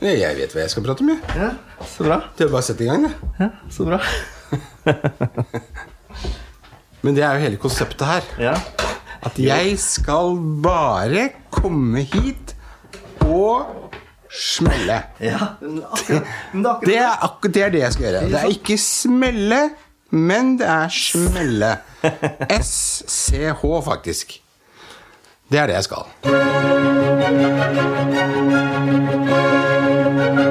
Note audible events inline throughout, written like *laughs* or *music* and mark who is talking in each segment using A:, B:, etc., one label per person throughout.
A: Nei, Jeg vet hva jeg skal prate om. jeg.
B: Ja, så bra.
A: Det er bare å sette i gang. det.
B: Ja, så bra.
A: Men det er jo hele konseptet her.
B: Ja.
A: At jeg skal bare komme hit og smelle.
B: ja. Men akkurat, men det er
A: Det
B: akkurat.
A: er, akkur- det er det jeg skal gjøre. Det er ikke smelle, men det er smelle. SCH, faktisk. Det er det jeg skal.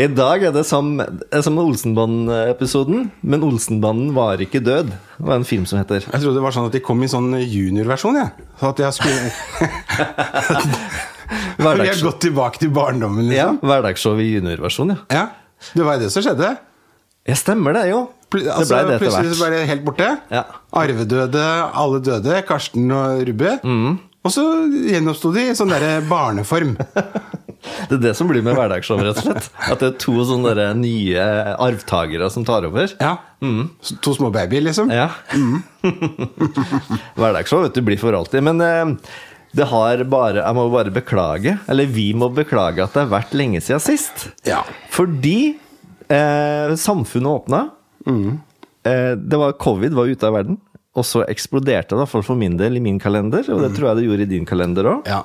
B: I dag er det som, er som med Olsenbanden-episoden, men Olsenbanden var ikke død. Det var en film som heter
A: Jeg trodde det var sånn at de kom i sånn juniorversjon, jeg. Så at jeg
B: *laughs*
A: skulle *laughs* Vi har
B: Hverdagsshow.
A: gått tilbake til barndommen,
B: Ja,
A: liksom.
B: hverdagsshow i juniorversjon, ja.
A: Ja. Det var jo det som skjedde.
B: Ja, stemmer det, jo.
A: Pl
B: det
A: altså,
B: ble det etter
A: plutselig så
B: hvert.
A: ble det helt borte.
B: Ja.
A: Arvedøde, alle døde. Karsten og Rubbe.
B: Mm.
A: Og så gjenoppsto de i sånn derre
B: *laughs*
A: barneform.
B: Det er det som blir med hverdagsshow, rett og slett. At det er to sånne der nye arvtakere som tar over.
A: Ja.
B: Mm.
A: Så To små babyer, liksom.
B: *laughs* Ja. Hverdagsshow vet du, blir for alltid. Men eh, det har bare, jeg må bare beklage, eller vi må beklage at det har vært lenge siden sist.
A: Ja.
B: Fordi eh, samfunnet åpna. Eh, det var, covid var ute av verden. Og så eksploderte det, i hvert fall for min del, i min kalender. Og det tror jeg det gjorde i din kalender òg.
A: Ja.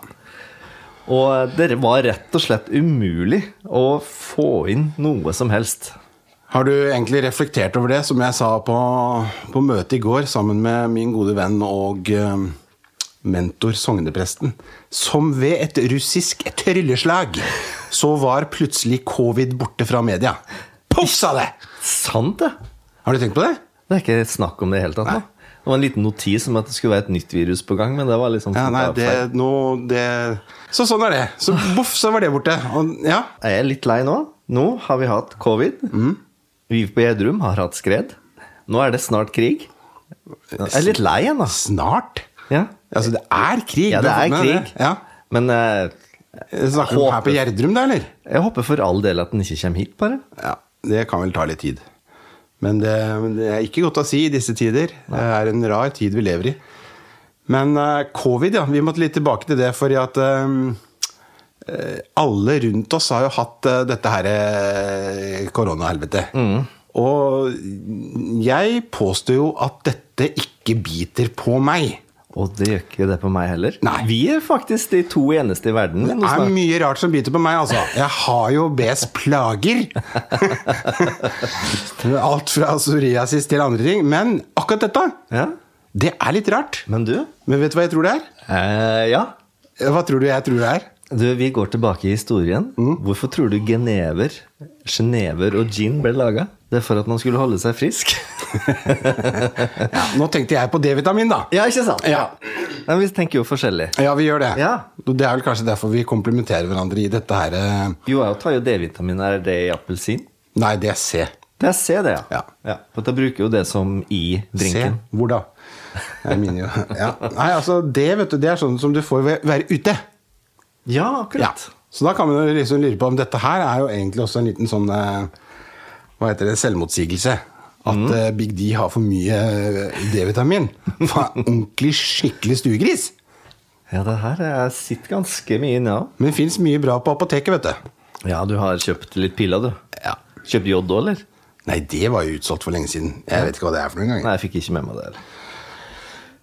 B: Og eh, det var rett og slett umulig å få inn noe som helst.
A: Har du egentlig reflektert over det, som jeg sa på, på møtet i går sammen med min gode venn og eh, mentor sognepresten? Som ved et russisk trylleslag så var plutselig covid borte fra media. Poff, sa det!
B: Sant, det!
A: Har du tenkt på det?
B: Det er ikke snakk om det i det hele tatt. nå. Det var en liten notis om at det skulle være et nytt virus på gang, men det var liksom
A: Ja, nei, det,
B: feil.
A: nå, det Så sånn er det. Så boff, så var det borte. Og, ja.
B: Jeg er litt lei nå. Nå har vi hatt covid.
A: Mm.
B: Vi på Gjerdrum har hatt skred. Nå er det snart krig. Jeg er litt lei igjen, altså.
A: Snart.
B: Ja.
A: Altså, det er krig.
B: ja,
A: Du
B: det
A: har fått
B: er
A: med
B: krig.
A: Ja.
B: Men eh,
A: Snakker du om her på Gjerdrum, da, eller?
B: jeg håper for all del at den ikke kommer hit, bare.
A: Ja, Det kan vel ta litt tid. Men det, men det er ikke godt å si i disse tider. Det er en rar tid vi lever i. Men eh, covid, ja. Vi måtte litt tilbake til det, fordi at eh, eh, alle rundt oss har jo hatt eh, dette her eh, koronahelvetet. Og jeg påstår jo at dette ikke biter på meg.
B: Og det gjør ikke det på meg heller.
A: Nei.
B: Vi er faktisk de to eneste i verden.
A: Det er mye rart som biter på meg, altså. Jeg har jo BS plager. *laughs* Alt fra psoriasis til andre ting. Men akkurat dette,
B: Ja.
A: det er litt rart.
B: Men du?
A: Men vet du hva jeg tror det er?
B: Eh, ja.
A: Hva tror du jeg tror det er?
B: Du, Vi går tilbake i historien. Hvorfor tror du genever, genever og gin ble laga? Det er for at man skulle holde seg *laughs* frisk.
A: Ja, nå tenkte jeg på D-vitamin, da.
B: ja, ikke sant?
A: Ja.
B: Men vi tenker jo forskjellig.
A: Ja, vi gjør det.
B: Ja.
A: Det er vel kanskje derfor vi komplementerer hverandre i dette her eh,
B: Jo, jeg tar jo D-vitamin. Er det i appelsin?
A: Nei, det er C.
B: Det er C, det, ja.
A: Ja.
B: For da bruker jo det som i drinken.
A: C. Hvor da? Jeg minner jo ja. Nei, altså, det, vet du, det er sånn som du får ved å være ute.
B: Ja,
A: Ja.
B: akkurat.
A: Så da kan man jo liksom lure på om dette her er jo egentlig også en liten sånn eh, Hva heter det? Selvmotsigelse. At eh, Big D har for mye eh, D-vitamin. Faen, Ordentlig, skikkelig stuegris.
B: Ja, det her jeg sitter ganske mye inne. ja.
A: Men det fins mye bra på apoteket, vet du.
B: Ja, du har kjøpt litt piller, du.
A: Ja.
B: Kjøpt jod òg, eller?
A: Nei, det var jo utsolgt for lenge siden. Jeg vet ikke hva det er for noen gang.
B: Nei, jeg fikk ikke med meg det. heller.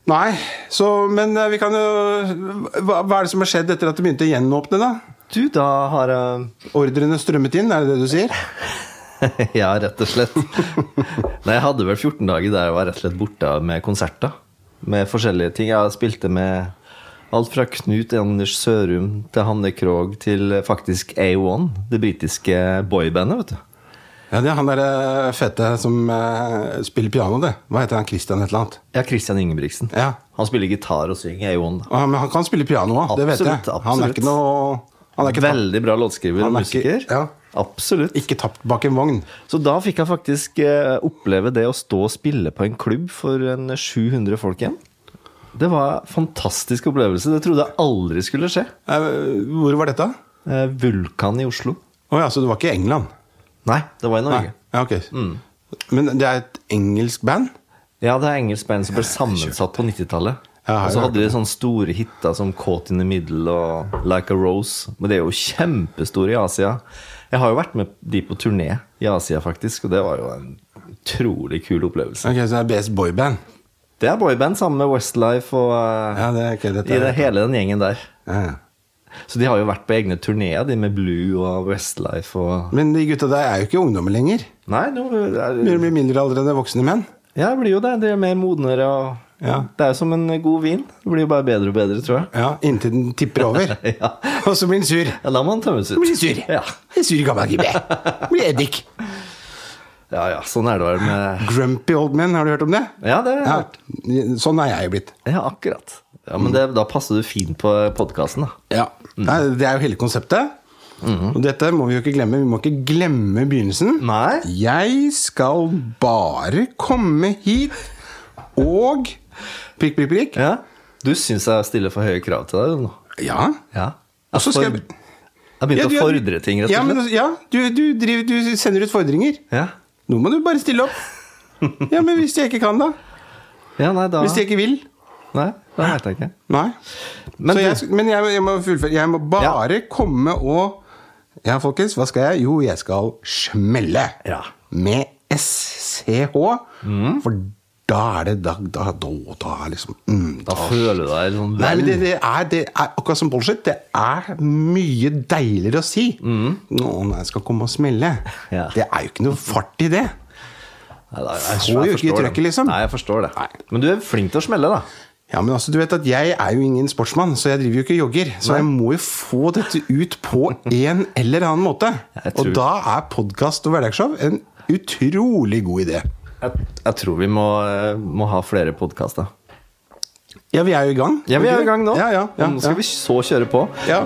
A: Nei, så, men eh, vi kan jo hva, hva er det som har skjedd etter at det begynte å gjenåpne, da?
B: Du, da har jeg
A: Ordrene strømmet inn, er det det du sier?
B: *laughs* Ja, rett og slett. Nei, jeg hadde vel 14 dager der jeg var rett og slett borte med konserter. Med forskjellige ting. Jeg spilte med alt fra Knut Anders Sørum til Hanne Krogh til faktisk A1, det britiske boybandet, vet du.
A: Ja, det er han derre fete som eh, spiller piano, det. Hva heter han? Christian et eller annet?
B: Ja, Christian Ingebrigtsen.
A: Ja.
B: Han spiller gitar og synger A1. da.
A: Ja, Men han kan spille piano òg, det vet jeg.
B: Absolutt,
A: Han er
B: absolutt.
A: ikke noe Han er ikke tapt,
B: Veldig bra låtskriver og
A: Han er ikke-
B: musiker.
A: ja.
B: Absolutt.
A: ikke tapt bak en vogn.
B: Så da fikk jeg faktisk eh, oppleve det å stå og spille på en klubb for en 700 folk igjen. Det var en fantastisk opplevelse. Det trodde jeg aldri skulle skje.
A: Eh, Hvor var dette?
B: Eh, Vulkan i Oslo.
A: Å ja, så det var ikke England?
B: Nei, det var
A: Nei.
B: i
A: Mm.
B: Norge.
A: Ja, ok. Men det er et engelsk band?
B: Ja, det er engelsk band som ble sammensatt på 90-tallet.
A: Ja, jeg har
B: Og så
A: hørt
B: hadde de sånne store hitter som Caught in the Middle og Like a Rose. Men det er jo kjempestore i Asia. Jeg har jo vært med de på turné i Asia, faktisk, og det var jo en utrolig kul opplevelse.
A: Ok, Så det er BS Boyband?
B: Det er boyband sammen med Westlife og eh,
A: Ja, det er ikke dette.
B: i det
A: er-
B: hele den gjengen der.
A: Ja, ja.
B: Så de har jo vært på egne turneer, de med Blue og Westlife og
A: Men de gutta der er jo ikke ungdommer lenger.
B: Nei, nå er
A: De blir mindre aldrende voksne menn.
B: Ja, det blir jo det. De er mer modnere og
A: Ja.
B: Det er jo som en god vin. Det blir jo bare bedre og bedre, tror jeg.
A: Ja, Inntil den tipper *laughs* over.
B: *laughs* Ja.
A: Og så blir den sur.
B: Ja, da må han tømmes ut.
A: Blir sur.
B: Ja.
A: En sur gammel gibbe. Blir eddik.
B: ja, ja, sånn er det vel med
A: Grumpy old men, har du hørt om det?
B: Ja, det er
A: Ja, sånn er jeg blitt.
B: ja, akkurat. Ja, Men det, da passer du fint på podkasten, da.
A: Ja. Nei, det er jo hele konseptet.
B: Mhm.
A: Og dette må vi jo ikke glemme. Vi må ikke glemme begynnelsen.
B: Nei?
A: Jeg skal bare komme hit og Prikk, prikk, prikk.
B: Ja. Du syns jeg stiller for høye krav til deg, du nå.
A: Ja.
B: Ja.
A: Og så
B: Jeg,
A: skal
B: for...
A: jeg-
B: jeg begynte
A: Ja,
B: å
A: du-
B: fordre ting, rett
A: Ja,
B: og slett.
A: men, ja du, du, driver, du sender ut fordringer.
B: Ja,
A: Nå må du bare stille opp.
B: *laughs*
A: Ja, men hvis jeg ikke kan, da?
B: ja nei, da
A: Hvis jeg ikke vil?
B: Nei, da veit jeg ikke.
A: Nei.
B: Men
A: så
B: du-
A: jeg, sk- men jeg, jeg må fullføre. Jeg må bare komme og Ja, folkens, hva skal jeg? Jo, jeg skal smelle.
B: Ja. Mm.
A: Med SCH. For da er det Da, da, da, da er liksom mm,
B: Da føler du deg sånn
A: Nei,
B: vel.
A: men det, det, er, det er akkurat som bullshit. Det er mye deiligere å si. Nå, når jeg skal komme og smelle.
B: Mm. Ja.
A: Det er jo ikke noe fart i det.
B: Nei, da,
A: Får jo ikke
B: jeg,
A: i
B: forstår det.
A: trøkket, liksom.
B: Nei, jeg forstår det.
A: Nei.
B: Men du er flink til å smelle, da.
A: Ja, men altså, du vet at Jeg er jo ingen sportsmann, så jeg driver jo ikke jogger. Så jeg må jo få dette ut på en eller annen måte.
B: *laughs* Jeg tror-
A: Og da er podkast og hverdagsshow en utrolig god idé.
B: Jeg, jeg tror vi må, eh, må ha flere podkaster.
A: Ja, vi er jo i gang.
B: Ja, vi er i gang nå.
A: Ja, ja, ja,
B: nå skal
A: ja.
B: vi så kjøre på.
A: ja.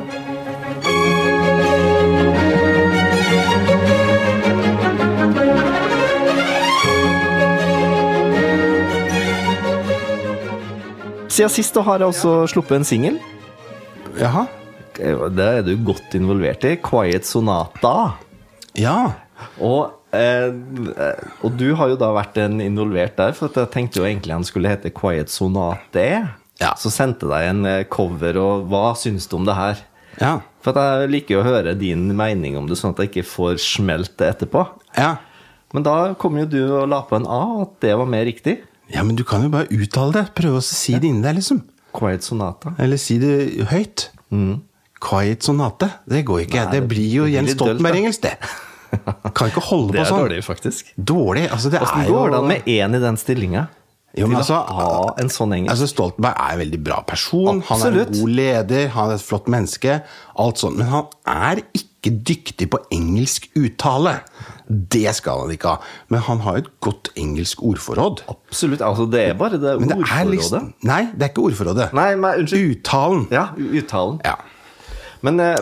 B: Siden sist da har jeg også sluppet en singel.
A: Jaha.
B: Det er du godt involvert i. 'Quiet Sonata'.
A: Ja.
B: Og, eh, og du har jo da vært en involvert der, for at jeg tenkte jo egentlig han skulle hete 'Quiet Sonate'.
A: Ja.
B: Så sendte jeg deg en eh, cover, og hva syns du om det her?
A: Ja.
B: For at jeg liker jo å høre din mening om det, sånn at jeg ikke får smelt det etterpå.
A: Ja.
B: Men da kom jo du og la på en A, og at det var mer riktig.
A: ja, men du kan jo bare uttale det. Prøve å si det inni deg, liksom.
B: Quiet Sonata.
A: Eller si det høyt. Quiet sonate. Det går ikke. det blir jo
B: Mm. det blir
A: Jens
B: litt dølt, da.
A: Stoltenberg-engelsk, det. Kan
B: *laughs*
A: ikke holde
B: Det
A: på
B: er
A: sånn.
B: dårlig, faktisk.
A: Dårlig. Altså, det
B: Åssen
A: er
B: går det
A: jo
B: an med én i den stillinga?
A: Jo, men
B: Til å
A: altså,
B: ha en sånn engelsk?
A: Altså Stoltenberg er en veldig bra person. Han er
B: Absolutt.
A: en god leder, han er et flott menneske. Alt sånt. Men han er ikke dyktig på engelsk uttale. Det skal han ikke ha. Men han har et godt engelsk ordforråd.
B: Absolutt. altså Det er bare det
A: Men det
B: ordforrådet.
A: er liksom Nei, det er ikke ordforrådet.
B: Nei, men unnskyld.
A: Uttalen.
B: Ja, u- uttalen.
A: Ja.
B: Men eh,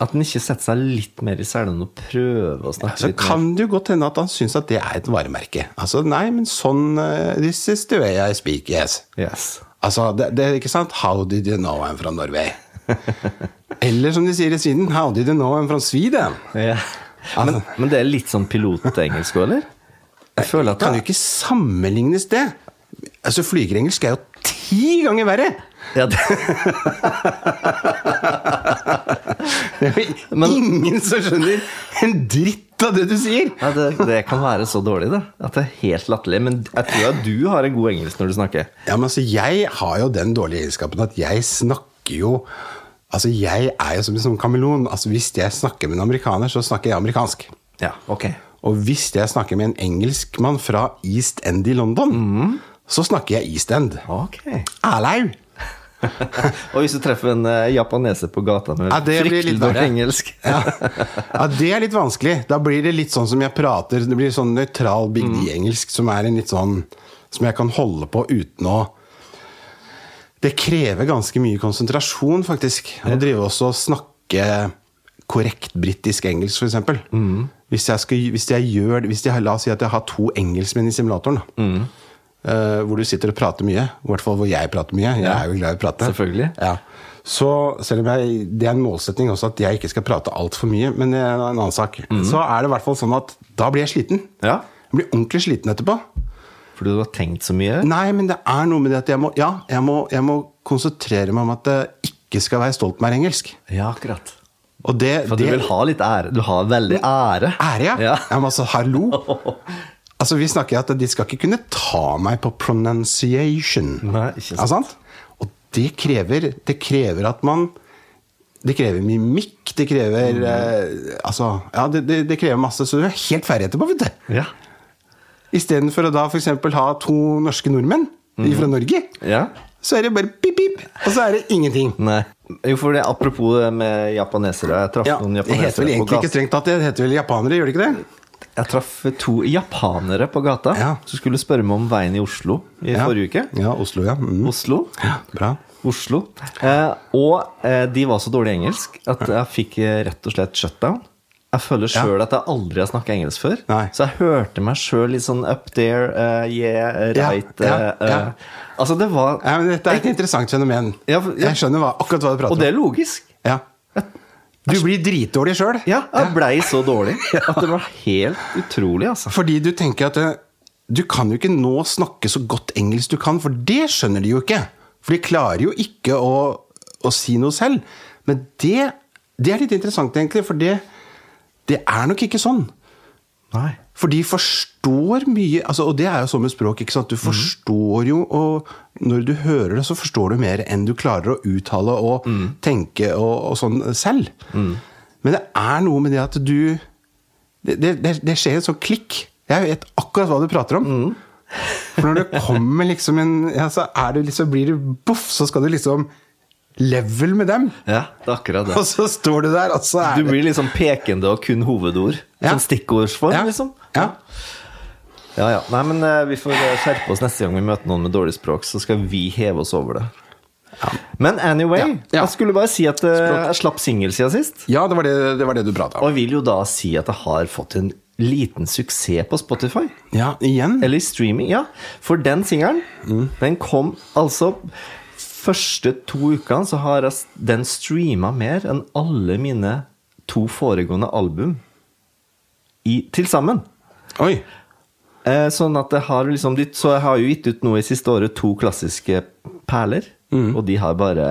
B: at den ikke setter seg litt mer i selen og prøver å snakke
A: Så
B: litt mer.
A: kan det jo godt hende at han syns at det er et varemerke. Altså, nei, men sånn eh, This is the way I speak, yes.
B: Yes.
A: Altså, det, det er ikke sant? How did you know I'm from Norway? Eller som de sier i Sweden, how did you know I'm from Sweden?
B: Ja. Men, men det er litt sånn pilotengelsk òg, eller? Jeg føler at
A: Kan jo
B: det,
A: ikke sammenlignes det. Altså, Flygerengelsk er jo ti ganger verre!
B: ja, *laughs* det,
A: Det er jo ingen som skjønner en dritt av det du sier!
B: ja, det, det kan være så dårlig, det. At det er helt latterlig. Men jeg tror at du har en god engelsk når du snakker.
A: Ja, men altså, Jeg har jo den dårlige egenskapen at jeg snakker jo Altså, Jeg er jo som en sånn kameleon. Altså, Hvis jeg snakker med en amerikaner, så snakker jeg amerikansk.
B: Ja, ok.
A: Og hvis jeg snakker med en engelskmann fra East End i London, så snakker jeg East End.
B: Ok.
A: Erlau!
B: Og hvis du treffer en eh, japaneser på gata med
A: Ja, det blir
B: fryktelig
A: litt verre.
B: dårlig engelsk
A: *laughs* Ja. ja, det er litt vanskelig. Da blir det litt sånn som jeg prater. Det blir sånn nøytral Big D-engelsk som er en litt sånn Som jeg kan holde på uten å Det krever ganske mye konsentrasjon, faktisk. Å drive også og snakke snakke korrekt britisk-engelsk, f.eks. Mm. Hvis jeg, skal, hvis jeg gjør hvis jeg, La oss si at jeg har to engelskmenn i simulatoren. Da. Eh, hvor du sitter og prater mye. I hvert fall hvor jeg prater mye. Jeg er jo glad i å prate.
B: Selvfølgelig.
A: Ja. Så selv om jeg, Det er en målsetning også at jeg ikke skal prate altfor mye, men det er en annen sak. Så er det i hvert fall sånn at da blir jeg sliten.
B: Mhm. Ja.
A: Jeg blir ordentlig sliten etterpå.
B: Fordi du har tenkt så mye?
A: Nei, men det er noe med det at jeg må, ja, jeg må, jeg må konsentrere meg om at det ikke skal være Stoltenberg-engelsk.
B: Ja, akkurat.
A: Og det,
B: For
A: det
B: du vil ha litt ære. Du har veldig ære.
A: ære, ja.
B: ja.
A: ja. Men altså, hallo! Altså, vi snakker at de skal ikke kunne ta meg på pronunciation.
B: Nei, ikke sant.
A: Ja, sant? Og det krever, det krever at man Det krever mimikk, det krever
B: Mm.
A: eh, Altså, ja, det, det, det krever masse, så du er helt ferdig etterpå, vet du.
B: *laughs* Ja.
A: Istedenfor å da f.eks. ha to norske nordmenn
B: Mhm.
A: fra Norge.
B: ja.
A: Så er det bare pip, pip, og så er det ingenting.
B: Nei. Jo, for det, apropos det med japanesere. Jeg traff
A: Ja,
B: noen
A: det heter vel
B: japanesere på
A: egentlig ikke
B: gata.
A: strengt tatt det. Det heter vel japanere, gjør det ikke det?
B: Jeg traff to japanere på gata
A: Ja.
B: som skulle spørre meg om veien i Oslo i
A: Ja.
B: forrige uke.
A: Ja, Oslo, ja. Mm.
B: Oslo.
A: ja bra.
B: Oslo. Eh, og eh, de var så dårlig i engelsk at jeg fikk eh, rett og slett shutdown. Jeg føler sjøl at jeg aldri har snakka engelsk før.
A: Nei.
B: Så jeg hørte meg sjøl litt sånn up there, eh, yeah,
A: Ja,
B: right
A: ja,
B: eh, eh.
A: ja.
B: Altså, det var
A: Ja, men dette er et interessant fenomen.
B: Ja, for- ja.
A: Jeg skjønner hva, akkurat hva du
B: Og
A: prater om.
B: det er logisk.
A: Ja. Du blir dritdårlig sjøl
B: Ja, jeg blei så dårlig
A: *laughs*
B: at det var helt utrolig, altså.
A: fordi du tenker at eh, du kan jo ikke nå snakke så godt engelsk du kan, for det skjønner de jo ikke. For de klarer jo ikke å, å si noe selv. Men det, det er litt interessant, egentlig, for det, det er nok ikke sånn.
B: Nei.
A: For de forstår mye altså, Og det er jo sånn med språk. ikke sant? Du forstår jo, og når du hører det, så forstår du mer enn du klarer å uttale og tenke og, og sånn selv. Men det er noe med det at du Det, det, det, det skjer en sånn klikk. Jeg vet akkurat hva du prater om. For når det kommer liksom en ja, Så er du liksom, blir du boff, så skal du liksom level med dem.
B: Ja, det er akkurat
A: *laughs*
B: det.
A: Og så står du der, og så er
B: Du
A: det
B: blir liksom pekende og kun hovedord.
A: Ja.
B: Sånn stikkordsform,
A: Ja.
B: liksom.
A: Ja.
B: Ja, ja. Nei, men eh, vi får eh, skjerpe oss neste gang vi møter noen med dårlig språk, så skal vi heve oss over det. Men anyway,
A: Ja.
B: jeg skulle bare si at eh, jeg slapp singel siden sist.
A: ja, det var det, det, var det du prata om.
B: Og jeg vil jo da si at jeg har fått en liten suksess på Spotify.
A: Ja, igjen.
B: Eller i streaming, ja. For den singelen,
A: Mm.
B: den kom altså Første to ukene så har jeg s- den streama mer enn alle mine to foregående album i, til sammen.
A: Oi.
B: Eh, sånn at jeg har liksom litt, Så jeg har jo gitt ut nå i siste året to klassiske perler.
A: Mm.
B: Og de har bare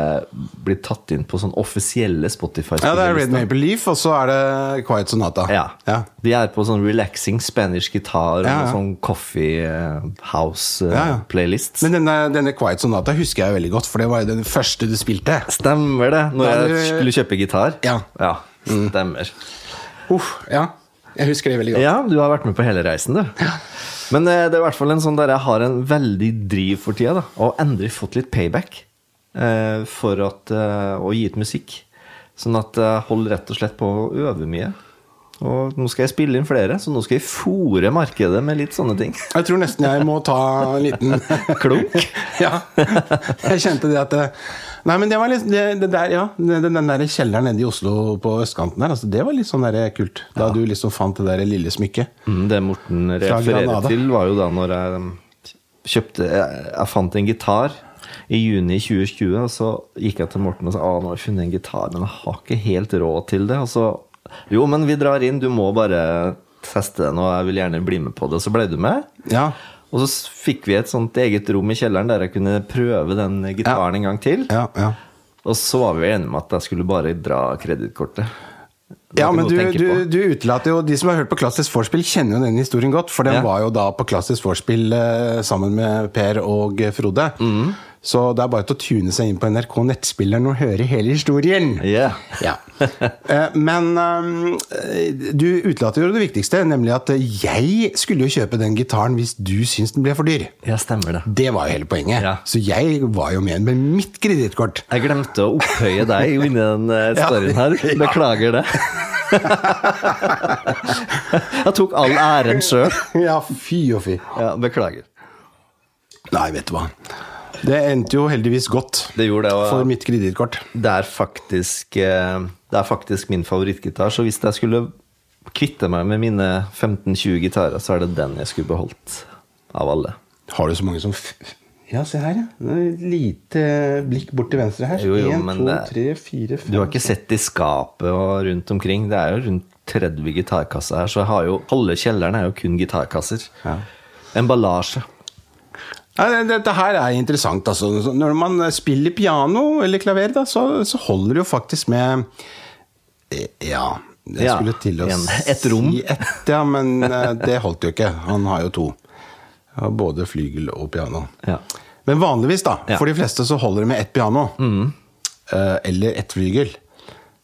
B: blitt tatt inn på sånn offisielle spotify
A: Ja, det er Red Maple Leaf, og så er det Quiet Sonata.
B: Ja.
A: ja.
B: De er på sånn relaxing Spanish guitar
A: Ja, ja.
B: og sånn coffee eh, house eh,
A: Ja, ja.
B: playlist.
A: Men denne, denne Quiet Sonata husker jeg veldig godt, for det var jo den første du spilte.
B: Stemmer det, når
A: Da er
B: jeg
A: du-
B: skulle kjøpe gitar.
A: Ja. Mm.
B: Stemmer.
A: Uff, ja. Jeg husker det veldig godt.
B: Ja, du har vært med på hele reisen, du. Men eh, det er i hvert fall en sånn der jeg har en veldig driv for tida, da. Og endelig fått litt payback eh, for at, eh, å gi ut musikk. Sånn at jeg holder rett og slett på å øve mye. Og nå skal jeg spille inn flere, så nå skal jeg fòre markedet med litt sånne
A: *laughs*
B: ting.
A: Jeg tror nesten jeg må ta en liten
B: *laughs* Klunk.
A: Ja. Jeg kjente det at det- Nei, men det var litt det, det der, ja. Den, den der kjelleren nede i Oslo på østkanten der, altså, det var litt sånn der kult. Da du liksom fant det der lille smykket.
B: Mm, Det Morten
A: Fra Granada.
B: refererer til, var jo da når jeg um, kjøpte Jeg, jeg fant en gitar i juni 2020, og så gikk jeg til Morten og sa at nå har jeg funnet en gitar, men jeg har ikke helt råd til det. Og så Jo, men vi drar inn, du må bare teste den, og jeg vil gjerne bli med på det. Og så ble du med.
A: Ja.
B: Og så s- fikk vi et sånt eget rom i kjelleren der jeg kunne prøve den eh, gitaren en gang til.
A: Ja, ja.
B: Og så var vi enige om at jeg skulle bare dra kredittkortet. Det
A: Ja,
B: var ikke
A: men
B: noe å
A: du,
B: tenke
A: du,
B: på.
A: du utelater jo De som har hørt på Klassisk Vorspiel, kjenner jo den historien godt. For den
B: Ja.
A: var jo da på Klassisk Vorspiel eh, sammen med Per og eh, Frode.
B: Mhm.
A: Så det er bare til å tune seg inn på NRK Nettspilleren og høre hele historien.
B: Yeah.
A: Ja. *laughs* Eh, Men eh, du utelater jo det viktigste, nemlig at eh, jeg skulle jo kjøpe den gitaren hvis du syns den ble for dyr.
B: Ja, stemmer det.
A: Det var jo hele poenget.
B: Ja.
A: Så jeg var jo med med mitt kredittkort.
B: Jeg glemte å opphøye deg inni den eh,
A: *laughs* Ja.
B: storyen her. Beklager det. Jeg tok all æren sjøl.
A: Ja, fy og fy.
B: Ja, beklager.
A: Nei, vet du hva. Det endte jo heldigvis godt
B: Det gjorde det. og-
A: for mitt kredittkort.
B: det er faktisk eh, Det er faktisk min favorittgitar, så hvis jeg skulle kvitte meg med mine 15-20 gitarer, så er det den jeg skulle beholdt av alle.
A: Har du så mange som f Ja, se her, ja. Det er et Lite blikk bort til venstre her.
B: Jo, jo,
A: en,
B: men
A: to,
B: det-
A: tre, fire,
B: Du
A: fem
B: har ikke sett i skapet og rundt omkring. Det er jo rundt 30 gitarkasser her, så jeg har jo, halve kjelleren er jo kun gitarkasser.
A: Ja.
B: Emballasje.
A: Nei, det- Dette her er interessant. Altså. Når man spiller piano eller klaver, da, så, så holder det jo faktisk med Eh, Ja. Jeg
B: Ja,
A: skulle til å
B: en- et rom.
A: si ett, ja, men eh, det holdt jo ikke. Han har jo to. Ja, både flygel og piano.
B: Ja.
A: Men vanligvis, da.
B: Ja.
A: For de fleste så holder det med ett piano. Eh, Eller ett flygel.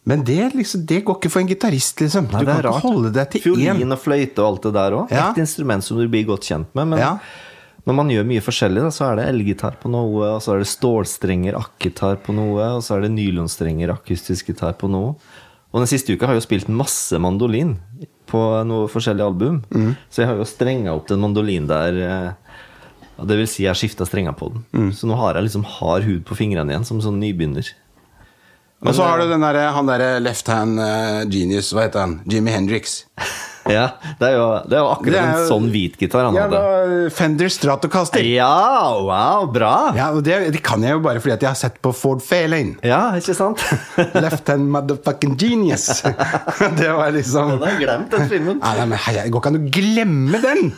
A: Men det, liksom, det går ikke for en gitarist, liksom.
B: Nei,
A: du kan ikke holde deg til én.
B: Fiolin og fløyte og alt det der òg.
A: Ja.
B: Et instrument som du blir godt kjent med. Men
A: Ja.
B: når man gjør mye forskjellig, da, så er det elgitar på noe, og så er det stålstrenger, akkitar på noe, og så er det nylonstrenger, akustisk gitar på noe. Og den siste uka har jeg jo spilt masse mandolin på noe forskjellige album.
A: Mm.
B: Så jeg har jo strenga opp den mandolin der. eh, og Det vil si, jeg har skifta strenger på den.
A: Mm.
B: Så nå har jeg liksom hard hud på fingrene igjen, som sånn nybegynner.
A: Og så har du den der, han derre left hand eh, genius, hva heter han? Jimmy Hendrix.
B: Ja, Det er jo, det er jo akkurat
A: Det er
B: en
A: jo-
B: sånn hvit gitar han
A: Ja,
B: hadde.
A: da, Fender Stratocaster.
B: Ja, wow, bra! Ja,
A: Ja, og det, det kan jeg jo bare fordi at jeg har sett på Ford
B: *laughs*
A: Fairlane.
B: ikke sant?
A: Left hand motherfucking genius. *laughs* det var liksom
B: har glemt den filmen.
A: Nei, nei, men hei, Det går ikke an å glemme den!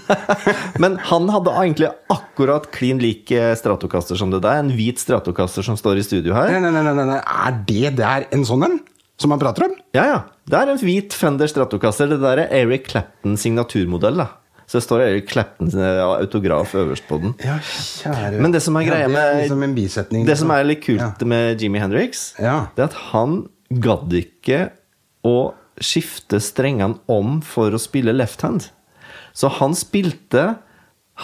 B: Men han hadde egentlig akkurat klin lik eh, stratokaster som det der. En hvit stratokaster som står i studio her.
A: Nei, nei, nei, nei, nei. Er det der en sånn en? Som man prater om?
B: Ja, ja. Det er en hvit Fender stratokaster. Det der er Eric Clapton signaturmodell, da. Så det står Eric Clapton eh, autograf øverst på den.
A: Ja, kjære
B: Men det som er greia
A: det er
B: med-
A: liksom en bisetning.
B: Det som er litt kult med Jimmy Hendrix,
A: Ja.
B: det er at han gadd ikke å skifte strengene om for å spille left hand. Så han spilte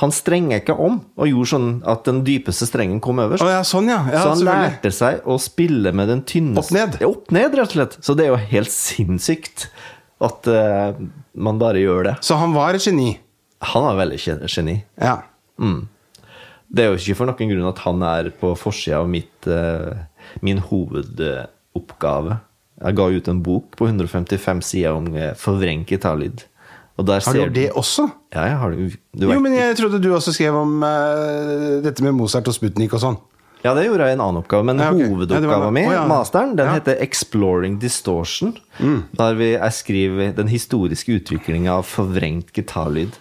B: Han strenga ikke om, og gjorde sånn at den dypeste strengen kom øverst.
A: Å ja, sånn, ja. ja
B: så han
A: selvfølgelig.
B: lærte seg å spille med den tynne
A: Opp ned.
B: Ja, opp ned, rett og slett. Så det er jo helt sinnssykt at eh, man bare gjør det.
A: Så han var et geni.
B: Han er veldig gen- geni.
A: Ja.
B: Mm. Det er jo ikke for noen grunn at han er på forsida av mitt, eh, min hovedoppgave. Jeg ga ut en bok på 155 sider om eh, forvrengt gitarlyd. Og der
A: Har du
B: ser
A: gjort det også?
B: Ja, jeg har det. Du
A: Jo,
B: vet-
A: men jeg trodde du også skrev om eh, dette med Mozart og Sputnik og sånn.
B: Ja, det gjorde jeg i en annen oppgave, men
A: Ja, ok. Ja, det var
B: hovedoppgaven
A: det.
B: min,
A: Å, ja.
B: masteren, den
A: Ja. Mm.
B: heter 'Exploring Distortion'. Der vi, jeg skriver den historiske utviklinga av forvrengt gitarlyd.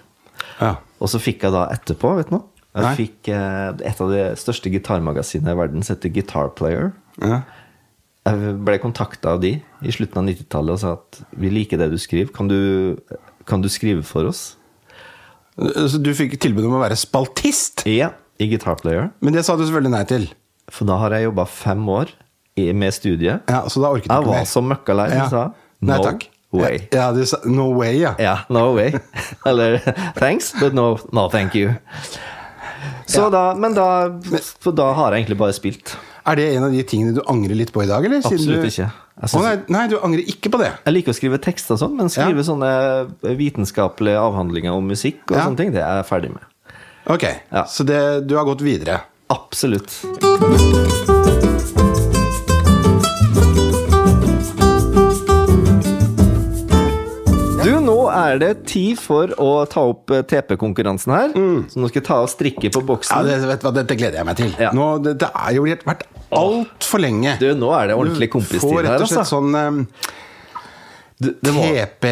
A: Ja.
B: Og så fikk jeg da etterpå, vet du noe? Jeg
A: Nei.
B: fikk eh, et av de største gitarmagasinene i verden, som heter Guitar Player.
A: Ja.
B: Jeg ble kontakta av de i slutten av 90-tallet og sa at vi liker det du skriver, kan du, kan du skrive for oss?
A: Så du fikk tilbud om å være spaltist?
B: Ja, i Guitar Player.
A: Men det sa du selvfølgelig nei til.
B: For da har jeg jobba fem år i- med studiet.
A: Ja, så da orket du
B: Jeg
A: ikke
B: var
A: mer.
B: så møkka lei,
A: Ja.
B: jeg sa
A: Nei,
B: no
A: takk.
B: way.
A: Ja, du sa no way, ja.
B: Ja, no way. *laughs* Eller thanks, but no, no thank you. Så da, men da For da har jeg egentlig bare spilt.
A: Er det en av de tingene du angrer litt på i dag, eller? du...
B: Absolutt ikke. Jeg
A: Å
B: synes-
A: nei, nei, du angrer ikke på det?
B: Jeg liker å skrive tekster og sånn, men skrive sånne vitenskapelige avhandlinger om musikk og
A: Ja.
B: sånne ting, det er jeg ferdig med.
A: Ok,
B: Ja.
A: så det, du har gått videre.
B: Absolutt. Du, nå er det tid for å ta opp eh, TP-konkurransen her. Så nå skal jeg ta og strikke på
A: Mm. Ja,
B: boksen.
A: det, vet du hva, Dette gleder jeg meg til.
B: Ja.
A: Nå, det, det er jo vært altfor lenge.
B: Du, nå er det ordentlig
A: Får
B: kompistid
A: rett
B: her,
A: og slett
B: altså.
A: sånn em,
B: Du, det må,
A: TP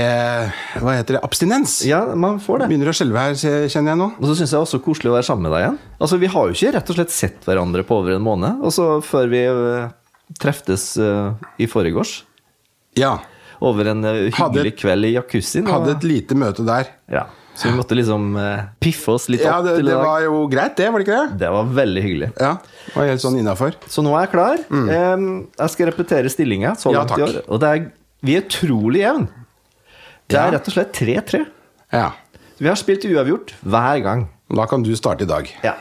A: Hva heter det? Abstinens?
B: ja, man får det.
A: Begynner å skjelve her, se- kjenner jeg nå.
B: Og så syns jeg også koselig å være sammen med deg igjen. Altså, Vi har jo ikke rett og slett sett hverandre på over en måned, og så før vi øh, treftes øh, i forgårs.
A: Ja.
B: Over en øh, hyggelig
A: Hadde-
B: kveld i jacuzzien. og-
A: Hadde et lite møte der.
B: Ja, så vi måtte liksom eh, piffe oss litt opp
A: Ja, det,
B: til i
A: det
B: dag.
A: var jo greit, det, var det ikke det?
B: Det var veldig hyggelig.
A: Ja, det var helt sånn innafor.
B: Så nå er jeg klar. Em, jeg skal repetere stillinga så
A: Mm. Ja,
B: langt i år.
A: takk.
B: Og det er, vi er utrolig jevne. Det
A: Ja.
B: er rett og slett 3-3.
A: Ja.
B: Vi har spilt uavgjort hver gang.
A: Da kan du starte i dag.
B: Ja.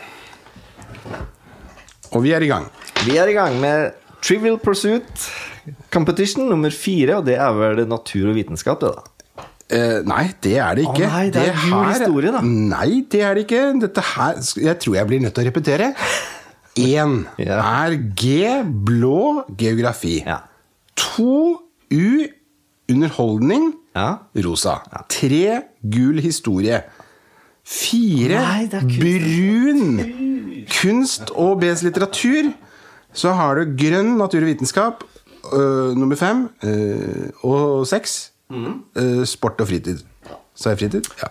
A: Og vi er i gang.
B: Vi er i gang med Trivial Pursuit Competition nummer fire, og det er vel natur og vitenskap, det, da.
A: Eh, nei, det er det ikke.
B: Å nei, det er gul historie, da.
A: Nei, det er det ikke. Dette her Jeg tror jeg blir nødt til å repetere. Én
B: *laughs* Ja.
A: er G, blå geografi.
B: Ja.
A: To U, underholdning,
B: Ja.
A: rosa. Tre, gul historie. Fire,
B: Nei, det er kunst.
A: brun kunst og B's litteratur. Så har du grønn natur og vitenskap, øh, nummer fem. øh, og seks,
B: Mm.
A: øh, sport og fritid. Sa jeg fritid? Ja.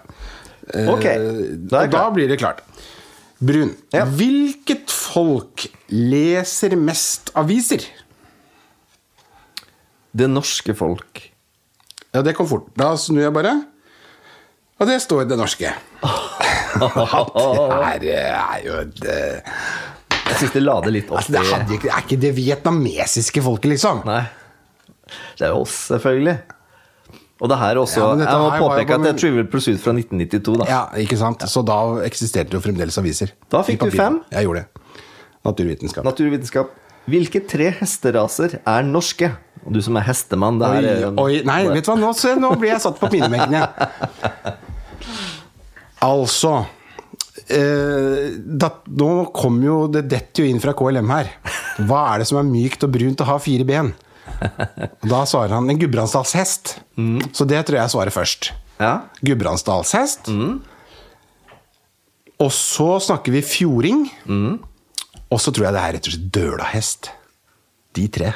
A: Eh,
B: Ok, da er
A: og
B: jeg
A: da
B: klar.
A: blir det klart. Brun.
B: Ja.
A: Hvilket folk leser mest aviser?
B: Det norske folk.
A: Ja, det kom fort. Da snur jeg bare. Og det står i det norske. Det er, er jo eh, det,
B: *laughs* Jeg syns de la det litt opp
A: altså, det, hadde,
B: i
A: ikke- det er ikke det vietnamesiske folket, liksom.
B: Nei. Det er jo oss, selvfølgelig. Og det her også.
A: Ja, men dette
B: jeg må
A: her var jo bare
B: påpeke at det er
A: min-
B: Trivial Pursuit fra 1992, da.
A: Ja, ikke sant? Så da eksisterte det jo fremdeles aviser.
B: Da
A: I
B: fikk du
A: papir.
B: fem.
A: Jeg gjorde det. Naturvitenskap.
B: Naturvitenskap. Hvilke tre hesteraser er norske? Og du som er hestemann, det her
A: Oi,
B: er
A: oi, nei, vet du hva, nå, se, nå blir jeg satt på pinebenken, jeg. Altså eh, da, Nå kom jo Det detter jo inn fra KLM her. Hva er det som er mykt og brunt og har fire ben? Og da svarer han en gudbrandsdalshest. Så det tror jeg svarer først.
B: Ja.
A: Gudbrandsdalshest. Og så snakker vi fjording. Og så tror jeg det er rett og slett dølahest. De tre.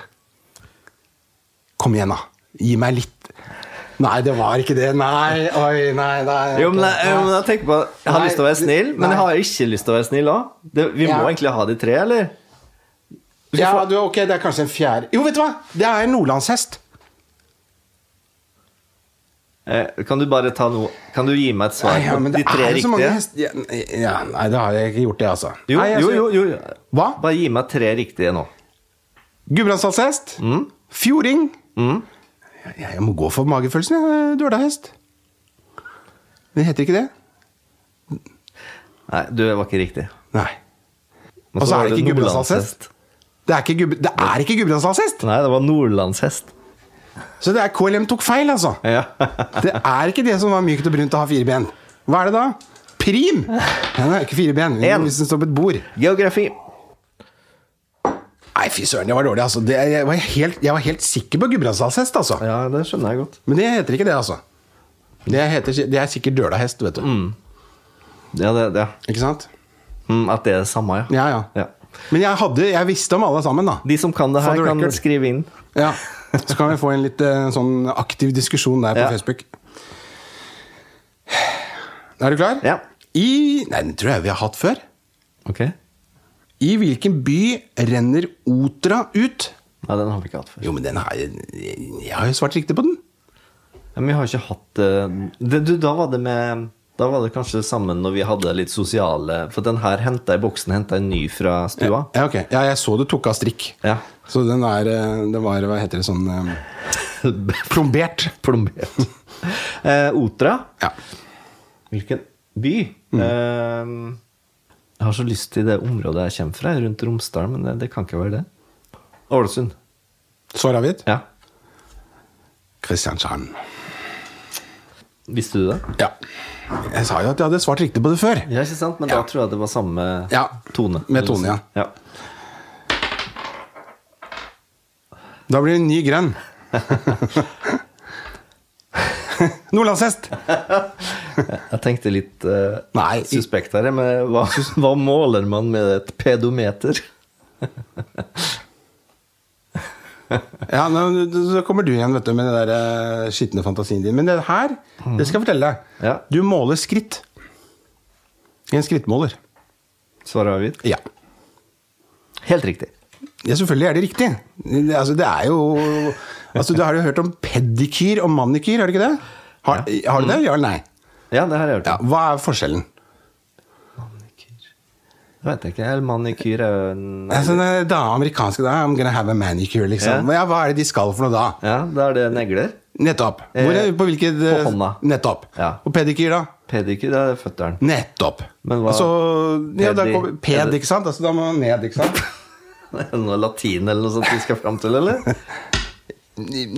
A: Kom igjen, da. Gi meg litt Nei, det var ikke det. Nei, oi, nei, nei.
B: Jo, men jeg, jo, men jeg tenker på Jeg har
A: Nei,
B: lyst til å være
A: det-
B: snill, men
A: nei.
B: jeg har ikke lyst til å være snill òg. Vi må
A: Ja.
B: egentlig ha de tre, eller?
A: ja, du, ok, det er kanskje en fjerde Jo, vet du hva! Det er en nordlandshest.
B: Eh, Kan du bare ta noe Kan du gi meg et svar
A: Nei, ja,
B: på
A: men
B: de
A: det
B: tre
A: er jo så mange
B: riktige?
A: hester ja, ja, Nei, det har jeg ikke gjort, det, altså.
B: Jo,
A: Nei, jeg
B: jo,
A: skal-
B: jo, jo.
A: Hva?
B: Bare gi meg tre riktige nå.
A: Gudbrandsdalshest. Fjording. Jeg, jeg må gå for magefølelsen, jeg. Dølahest. Det heter ikke det?
B: Nei, du det var ikke riktig.
A: Nei.
B: Men
A: Og så
B: var
A: er det ikke gudbrandsdalshest. Det er ikke, gub- det er ikke Gudbrandsdalshest!
B: Nei, det var nordlandshest.
A: Så det er KLM tok feil, altså.
B: Ja.
A: Det er ikke det som var mykt og brunt og har fire ben. Hva er det da? Prim! Nei, det er ikke fire ben.
B: En.
A: Hvis den står på et bord.
B: *laughs* Geografi.
A: Nei, fy søren, det var dårlig, altså. Det, jeg, var helt, jeg var helt sikker på Gudbrandsdalshest, altså.
B: Ja, det skjønner jeg godt.
A: Men det heter ikke det, altså. Det, heter, det er sikkert dølahest, vet du.
B: Ja, det, ja.
A: Ikke sant?
B: Mm, at det er det samme, ja.
A: Ja, ja.
B: Ja.
A: Men jeg, hadde, jeg visste om alle sammen, da.
B: De som kan det
A: For
B: her,
A: the
B: kan
A: record.
B: skrive inn.
A: Ja. *laughs* Så kan vi få en litt eh, sånn aktiv diskusjon der på
B: Ja.
A: Facebook. Er du klar?
B: Ja.
A: I Nei, den tror jeg vi har hatt før.
B: Ok? Nei,
A: I hvilken by renner Otra ut?
B: den har vi ikke hatt før.
A: Jo, men den har jeg Jeg har jo svart riktig på den.
B: Ja, Men vi har ikke hatt eh, det, du, Da var det med Da var det kanskje sammen når vi hadde litt sosiale For den her hentet, boksen henta en ny fra stua.
A: Ja, ok. Ja, jeg så du tok av strikk.
B: Ja.
A: Så den er eh, Det var Hva heter det sånn eh, Plombert.
B: *laughs* Plombert. *laughs* Eh, Otra.
A: Ja.
B: Hvilken by?
A: Mm.
B: Eh, jeg har så lyst til det området jeg kommer fra, rundt Romsdal, men det, det kan ikke være det. Ålesund.
A: Svar avgitt?
B: Ja.
A: Kristiansand.
B: Visste du det?
A: Ja. Jeg sa jo at jeg hadde svart riktig på det før.
B: Ja, ikke sant? Men da tror jeg det var samme
A: Ja,
B: tone.
A: med tone, ja.
B: ja.
A: Da blir det en ny grønn. Nordlandshest!
B: Jeg tenkte litt eh,
A: Nei, i-
B: suspekt her, men
A: *laughs*
B: hva, hva måler man med et pedometer?
A: Ja, nå, så kommer du igjen vet du, med den der eh, skitne fantasien din. Men det her det skal jeg fortelle deg.
B: Ja.
A: Du måler skritt. I en skrittmåler.
B: Svaret avgitt?
A: Ja.
B: Helt riktig.
A: ja, selvfølgelig er det riktig. Det, altså, det er jo altså, Du har jo hørt om pedikyr og manikyr, har du ikke det? Har, har du det? Ja eller nei?
B: Ja, det har jeg hørt.
A: Ja,
B: om.
A: hva er forskjellen?
B: Manikyr Det vet jeg ikke. Eller manikyr er jo en-
A: Altså, det det er amerikanske da, I'm gonna have a manicure, liksom. Ja. hva er det de skal for noe da?
B: Ja, da er det negler.
A: Nettopp. Hvor er,
B: Eh,
A: på hvilket eh,
B: på hånda.
A: Nettopp.
B: Ja.
A: Og pedikyr, da?
B: Pedikyr, det er føtteren.
A: Nettopp.
B: Men hva-
A: altså, ja, da
B: Pedi-
A: kommer ped,
B: pedi-
A: ikke sant? Altså, da må man ned, ikke sant? *laughs*
B: *laughs* Er det noe latin eller noe sånt vi skal fram til, eller?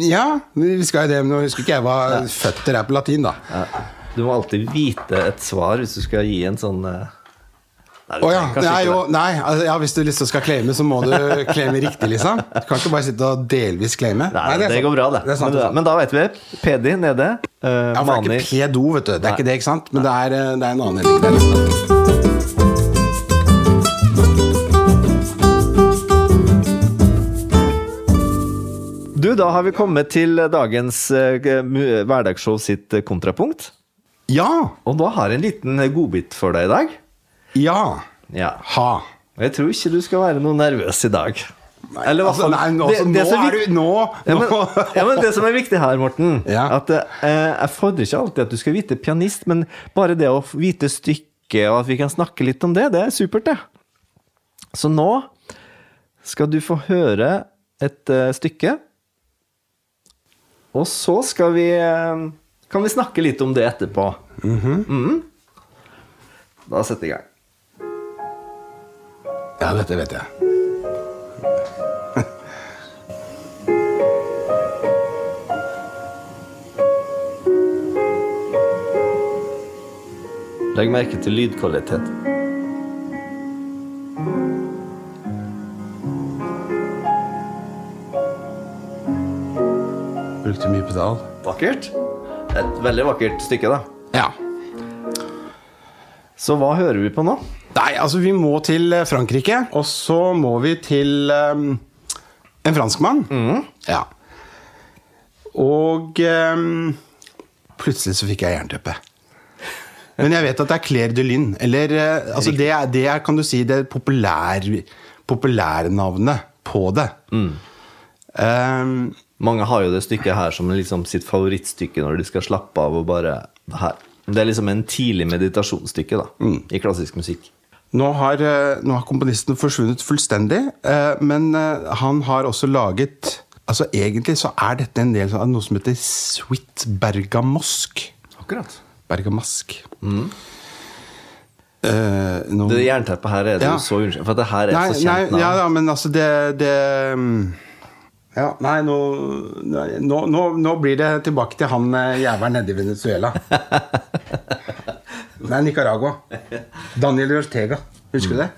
A: Ja, vi skal jo det, men nå husker ikke jeg hva føtter er på latin, da.
B: Ja. Du må alltid vite et svar hvis du skal gi en sånn eh, Nei, du
A: Å ja.
B: trenger kanskje
A: Nei,
B: ikke
A: jo,
B: det.
A: nei. Altså, ja, hvis du liksom skal claime, så må du claime riktig, liksom. Du kan ikke bare sitte og delvis claime.
B: Nei,
A: Nei,
B: det,
A: er sant.
B: går bra, det.
A: er sant,
B: men,
A: det er sant.
B: men da vet vi. Pedi nede.
A: Ja,
B: Uh,
A: for det er
B: Mani
A: ikke pedo, vet du. Det er
B: Nei.
A: ikke det, ikke sant? Men det er, eh, det er en annen ending der.
B: Du, da har vi kommet til dagens eh, mu- hverdagsshow sitt eh, kontrapunkt.
A: Ja!
B: Og da har jeg en liten eh, godbit for deg i dag.
A: Ja!
B: Ja.
A: Ha!
B: Og Jeg tror ikke du skal være noe nervøs i dag. Eller i hvert
A: Altså,
B: fall-
A: nei, nå,
B: det-
A: altså,
B: det
A: nå
B: som er
A: er
B: vik-
A: du Nå!
B: Ja men,
A: nå.
B: *laughs* ja, men det som er viktig her, Morten
A: Ja.
B: At eh, Jeg fordrer ikke alltid at du skal vite pianist, men bare det å vite stykket, og at vi kan snakke litt om det, det er supert, det. Så nå skal du få høre et eh, stykke. Og så skal vi eh, Kan vi snakke litt om det etterpå. Mhm. Da setter jeg i gang.
A: Ja, dette vet jeg.
B: Legg merke til lydkvalitet.
A: Brukte mye pedal.
B: Vakkert. Et veldig vakkert stykke, da.
A: Ja.
B: Så hva hører vi på nå?
A: Nei, altså, vi må til eh, Frankrike. Og så må vi til eh, en franskmann. Ja. Og eh, plutselig så fikk jeg jernteppe. Men jeg vet at det er Clair de Lune. Eller eh, altså det, er, det er, kan du si, det er populær, populærnavnet på det. Eh,
B: Mange har jo det stykket her som liksom sitt favorittstykke når de skal slappe av og bare det her. Det er liksom en tidlig meditasjonsstykke da,
A: Mm.
B: i klassisk musikk.
A: nå, har, eh, nå har komponisten forsvunnet fullstendig, eh, men eh, han har også laget Altså Egentlig så er dette en del av noe som heter Sweet Bergamosk.
B: Akkurat.
A: Bergamask. Eh, nå-
B: Mm. Det jernteppet her er det
A: Ja.
B: jo så unnskyld, for det her er
A: nei,
B: så kjent
A: nei,
B: navn.
A: ja, ja, men altså det, det mm, ja, Nei, nå, nei, nå, nå, nå blir det tilbake til han eh, jævelen nede i Venezuela.
B: *laughs*
A: nei, Nicaragua. Daniel Ortega. Husker du det?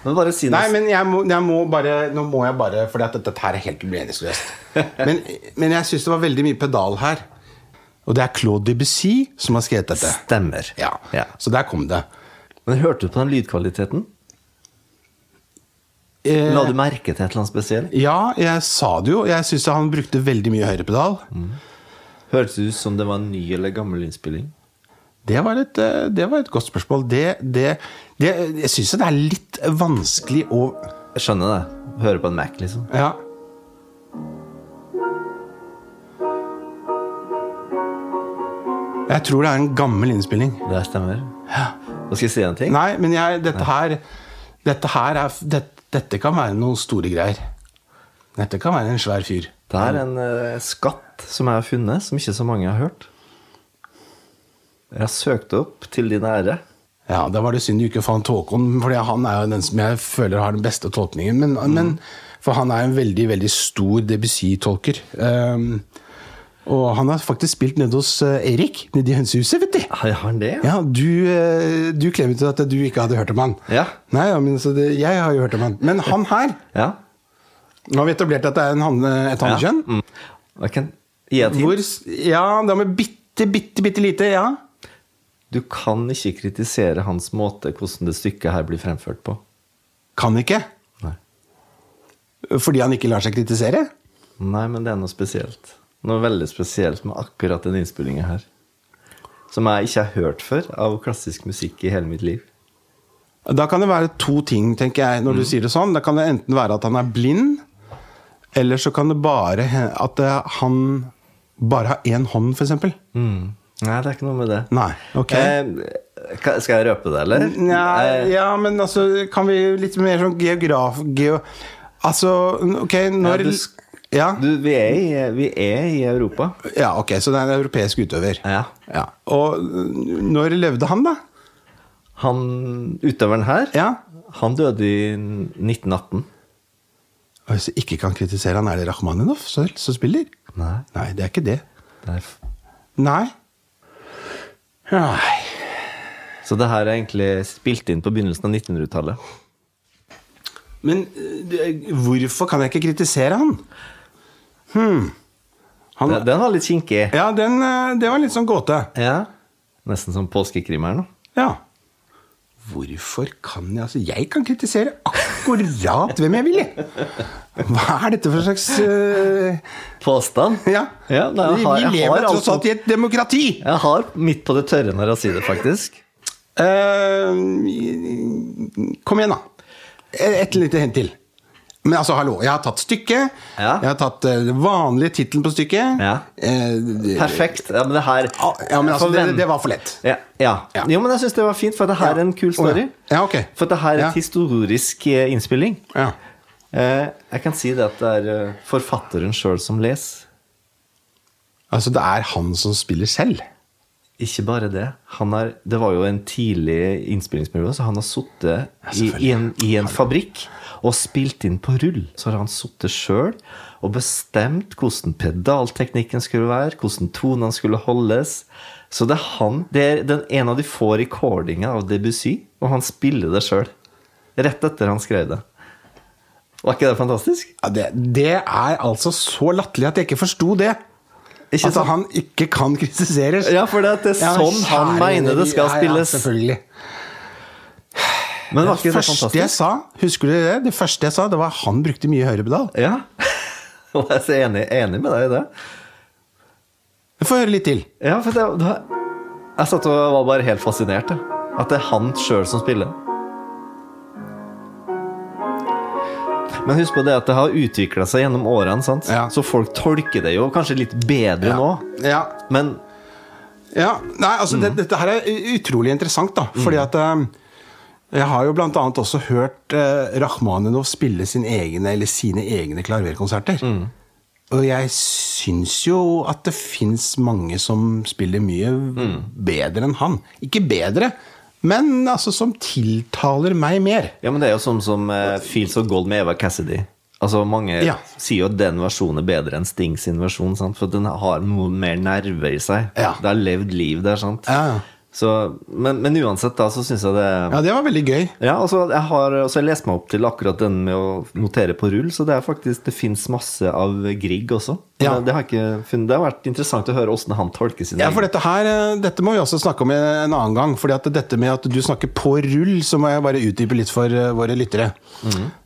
B: Men bare si
A: Nei,
B: noe.
A: men jeg må, jeg må bare Nå må jeg bare Fordi at dette her er helt *laughs* meningsløst. Men, men jeg syns det var veldig mye pedal her. Og det er Claude Debussy som har skrevet dette.
B: Stemmer.
A: Ja, Så der kom det.
B: Men hørte du på den lydkvaliteten?
A: Eh,
B: La du merke til et eller annet spesielt?
A: Ja, jeg sa det jo. Jeg syns han brukte veldig mye høyrepedal.
B: Hørtes det ut som det var en ny eller gammel innspilling?
A: Det, var et, eh, det var et godt spørsmål. Det, det, det Jeg syns det er litt vanskelig å
B: Jeg skjønner det. Hører på en Mac, liksom.
A: Ja. Jeg tror det er en gammel innspilling.
B: Det stemmer. Nå skal jeg si en ting.
A: *laughs* Nei, men jeg, dette her Dette her er det, Dette kan være noen store greier. Dette kan være en svær fyr.
B: Det er en eh, skatt som jeg har funnet, som ikke så mange har hørt. Jeg har søkt opp til din ære.
A: Ja, Da var det synd du ikke fant Håkon, for han er jo den som jeg føler har den beste tolkningen. Men, men For han er en veldig veldig stor Debussy-tolker. Ehm, og han har faktisk spilt nede hos eh, Erik, nede i hønsehuset, vet du.
B: Har han det?
A: Ja, Du, eh, du klem ut at du ikke hadde hørt om han.
B: Ja.
A: Nei, ja, men så det, Jeg har jo hørt om han. Men han her
B: ja.
A: Nå har vi etablert at det er en han, eh, et hannkjønn.
B: Mm. Jeg kan gi et hint.
A: Hvor, ja, det har med bitte, bitte, bitte lite, ja.
B: Du kan ikke kritisere hans måte hvordan det stykket her blir fremført på.
A: Kan ikke.
B: Nei,
A: Fordi han ikke lar seg kritisere?
B: Nei men det er noe spesielt. Noe veldig spesielt med akkurat den innspillingen her. Som jeg ikke har hørt før av klassisk musikk i hele mitt liv.
A: Da kan det være to ting, tenker jeg, når du
B: Mm.
A: sier det sånn. Da kan det enten være at han er blind, eller så kan det bare he- at det- han bare har én hånd, f.eks.
B: Nei, det er ikke noe med det.
A: Mm. Nei. Ok.
B: Eh, ka- skal jeg røpe det, eller? Eh,
A: Nja, ja, men altså Kan vi litt mer sånn geograf... Geo, altså, ok, når
B: Ja, du sk-
A: Ja,
B: Du, vi er i, vi er i Europa.
A: ja, ok, så det er en europeisk utøver.
B: Ja.
A: Ja. Og øh, når levde han, da?
B: Han, utøveren her,
A: Ja.
B: han døde i 1918.
A: Og hvis jeg ikke kan kritisere han, er det Rakhmaninov som som spiller?
B: Nei,
A: Nei, det er ikke det.
B: det er f-
A: Nei. Nei.
B: Så det her er egentlig spilt inn på begynnelsen av 1900-tallet.
A: Men eh, det- hvorfor kan jeg ikke kritisere han? Hmm.
B: Den-
A: Han,
B: Den var litt kinkig.
A: ja, den, eh, det var litt sånn gåte.
B: Ja. Nesten som påskekrim her nå.
A: Ja. Hvorfor kan jeg Altså, jeg kan kritisere akkurat hvem jeg vil, jeg. Hva er dette for slags eh,
B: Påstand?
A: Ja.
B: Ja, nei, jeg
A: vi, vi
B: har- jeg har
A: lever tross
B: altså-
A: alt i et demokrati!
B: Jeg har midt på det tørre når jeg sier det, faktisk.
A: Eh, kom igjen, da. Et lite hint til. Men altså, hallo. Jeg har tatt stykket.
B: Ja.
A: Jeg har tatt eh, den vanlige tittelen på stykket.
B: Ja.
A: Eh, det-
B: Perfekt. Ja, men det her
A: Ah, ja, men altså, det,
B: Forvent-
A: det var for lett.
B: ja, ja.
A: Ja.
B: Jo, men jeg syns det var fint, for det her er en kul story.
A: Å, ja. Ja, ok.
B: For det her er
A: Ja.
B: et historisk eh, innspilling.
A: Ja.
B: Eh, jeg kan si det at det er eh, forfatteren sjøl som leser.
A: Altså, det er han som spiller selv.
B: Ikke bare det. Han er, det var jo en tidlig innspillingsmiljø, så han har sittet i,
A: selvfølgelig.
B: i, en- i en fabrikk og spilt inn på rull. Så har han sittet sjøl og bestemt hvordan pedalteknikken skulle være, hvordan tonene skulle holdes. Så det er han Det er den, en av de få recordingene av Debussy, og han spiller det sjøl. Rett etter han skrev det. Var ikke det fantastisk?
A: Ja, det, det er altså så latterlig at jeg ikke forsto det.
B: Ikke
A: At
B: sant?
A: Altså, han ikke kan kritiseres.
B: Ja, for det, at det er
A: Ja,
B: sånn han
A: kjære
B: mener det skal
A: ja,
B: spilles.
A: Ja, selvfølgelig.
B: Men var
A: Det
B: ikke det
A: første jeg
B: fantastisk?
A: sa, husker du det? Det første jeg sa, det var han brukte mye høyrepedal.
B: Ja. *laughs* Og jeg er så enig, enig med deg i det.
A: Få høre litt til.
B: Ja, for det, det Jeg satt og var bare helt fascinert. Jeg. At det er han sjøl som spiller. Men husk på det at det har utvikla seg gjennom årene, sant?
A: Ja.
B: så folk tolker det jo kanskje litt bedre nå.
A: Ja.
B: Men
A: ja. Nei, altså, det, dette her er u- utrolig interessant, da. Fordi at eh, jeg har jo blant annet også hørt eh, Rakhmaninov spille sin egne, eller sine egne klaverkonserter. Og jeg syns jo at det fins mange som spiller mye bedre enn han. Ikke bedre, men altså som tiltaler meg mer.
B: Ja, men det er jo sånn som eh, Feels of Gold med Eva Cassidy. Altså, Mange
A: Ja.
B: sier jo at den versjonen er bedre enn Sting sin versjon, sant? for den har noe mer nerver i seg.
A: Ja.
B: Det har levd liv der, sant.
A: Ja, ja.
B: Så, men, men uansett, da, så syns jeg det
A: Ja, det var veldig gøy.
B: ja, altså, jeg har altså, jeg lest meg opp til akkurat den med å notere på rull, så det er faktisk, det fins masse av Grieg også.
A: Ja.
B: Det, det, har jeg ikke funnet, det har vært interessant å høre åssen han tolker sine
A: Ja, for
B: egne-
A: dette her, eh, dette må vi også snakke om en annen gang. fordi at dette med at du snakker på rull, så må jeg bare utdype litt for eh, våre lyttere.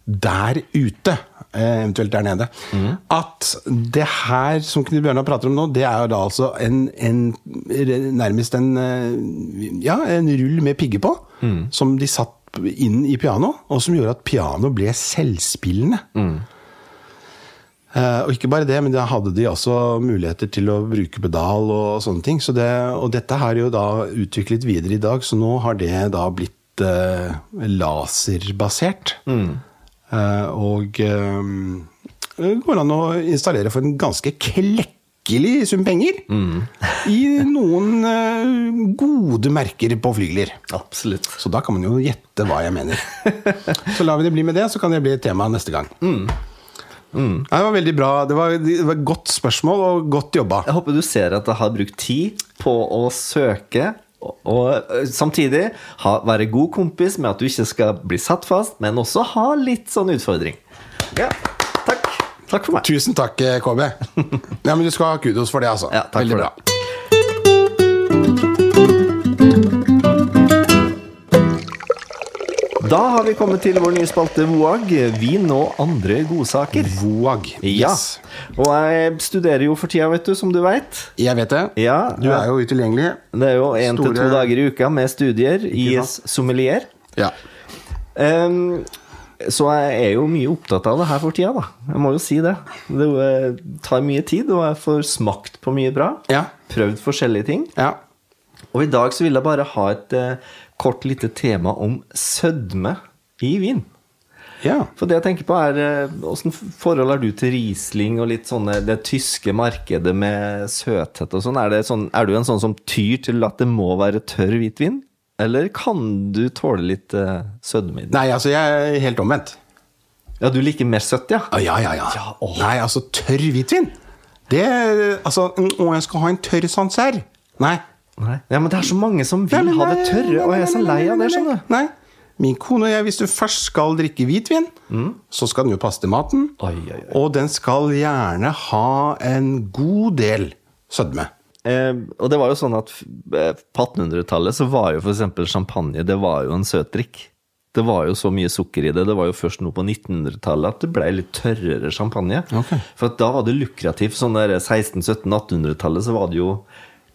A: Der ute, eh, eventuelt der nede. At det her som Knut Bjørnar prater om nå, det er jo da altså en, en re- nærmest en eh, ja, en rull med pigger på. Som de satt inn i piano, og som gjorde at piano ble selvspillende. Eh, og ikke bare det, men da hadde de også muligheter til å bruke pedal og sånne ting. Så det, og dette her er jo da utviklet videre i dag, så nå har det da blitt eh, laserbasert. Eh, og eh, det går an å installere for en ganske klekkelig sum penger. I noen eh, gode merker på flygler.
B: Absolutt.
A: Så da kan man jo gjette hva jeg mener. Så lar vi det bli med det, så kan det bli et tema neste gang. Mm. Ja, det var veldig bra. Det var, det var godt spørsmål og godt jobba.
B: Jeg håper du ser at jeg har brukt tid på å søke, og, og ø, samtidig ha, være god kompis med at du ikke skal bli satt fast, men også ha litt sånn utfordring. Ja, takk. Takk for meg.
A: Tusen takk, eh, KB. *laughs* Ja, men du skal ha kudos for det, altså.
B: Ja, takk
A: veldig
B: for
A: bra.
B: det. Da har vi kommet til vår nye spalte VOAG. Vin og andre godsaker.
A: Voag.
B: Ja.
A: Yes.
B: Og jeg studerer jo for tida, vet du, som du veit.
A: Jeg vet det.
B: Ja,
A: Du er jo utilgjengelig.
B: Det er jo én til to
A: Store-
B: dager i uka med studier i
A: sant?
B: sommelier.
A: Ja.
B: Ehm, så jeg er jo mye opptatt av det her for tida, da. Jeg må jo si det. Det eh, tar mye tid, og jeg får smakt på mye bra.
A: Ja.
B: Prøvd forskjellige ting.
A: ja.
B: Og i dag så vil jeg bare ha et eh, kort lite tema om sødme i vin.
A: ja.
B: For det jeg tenker på er eh, Åssen forhold har du til Riesling og litt sånne det tyske markedet med søthet og sånn? Er, det sånn? er du en sånn som tyr til at det må være tørr hvitvin? Eller kan du tåle litt eh, sødme i den?
A: Nei, altså, jeg er helt omvendt.
B: Ja, du liker mer søtt, ja?
A: Å, Ah, ja, ja, ja.
B: Ja, åh.
A: Nei, altså, tørr hvitvin. Det Altså, mm, å, jeg skal ha en tørr sanser. Nei,
B: Nei. Ja, men det er så mange som vil ha det tørre, og jeg er så lei av det, skjønner du.
A: Nei. Mm. Min kone og jeg, hvis du først skal drikke hvitvin, så skal den jo passe til maten.
B: Oi, oi, oi.
A: Og den skal gjerne ha en god del sødme.
B: Eh, og det var jo sånn at eh, på 1800-tallet så var jo f.eks. champagne det var jo en søtdrikk. Det var jo så mye sukker i det. Det var jo først nå på 1900-tallet at det ble litt tørrere champagne.
A: Ok.
B: For at da var det lukrativt. Sånn der 1600-1700-1800-tallet så var det jo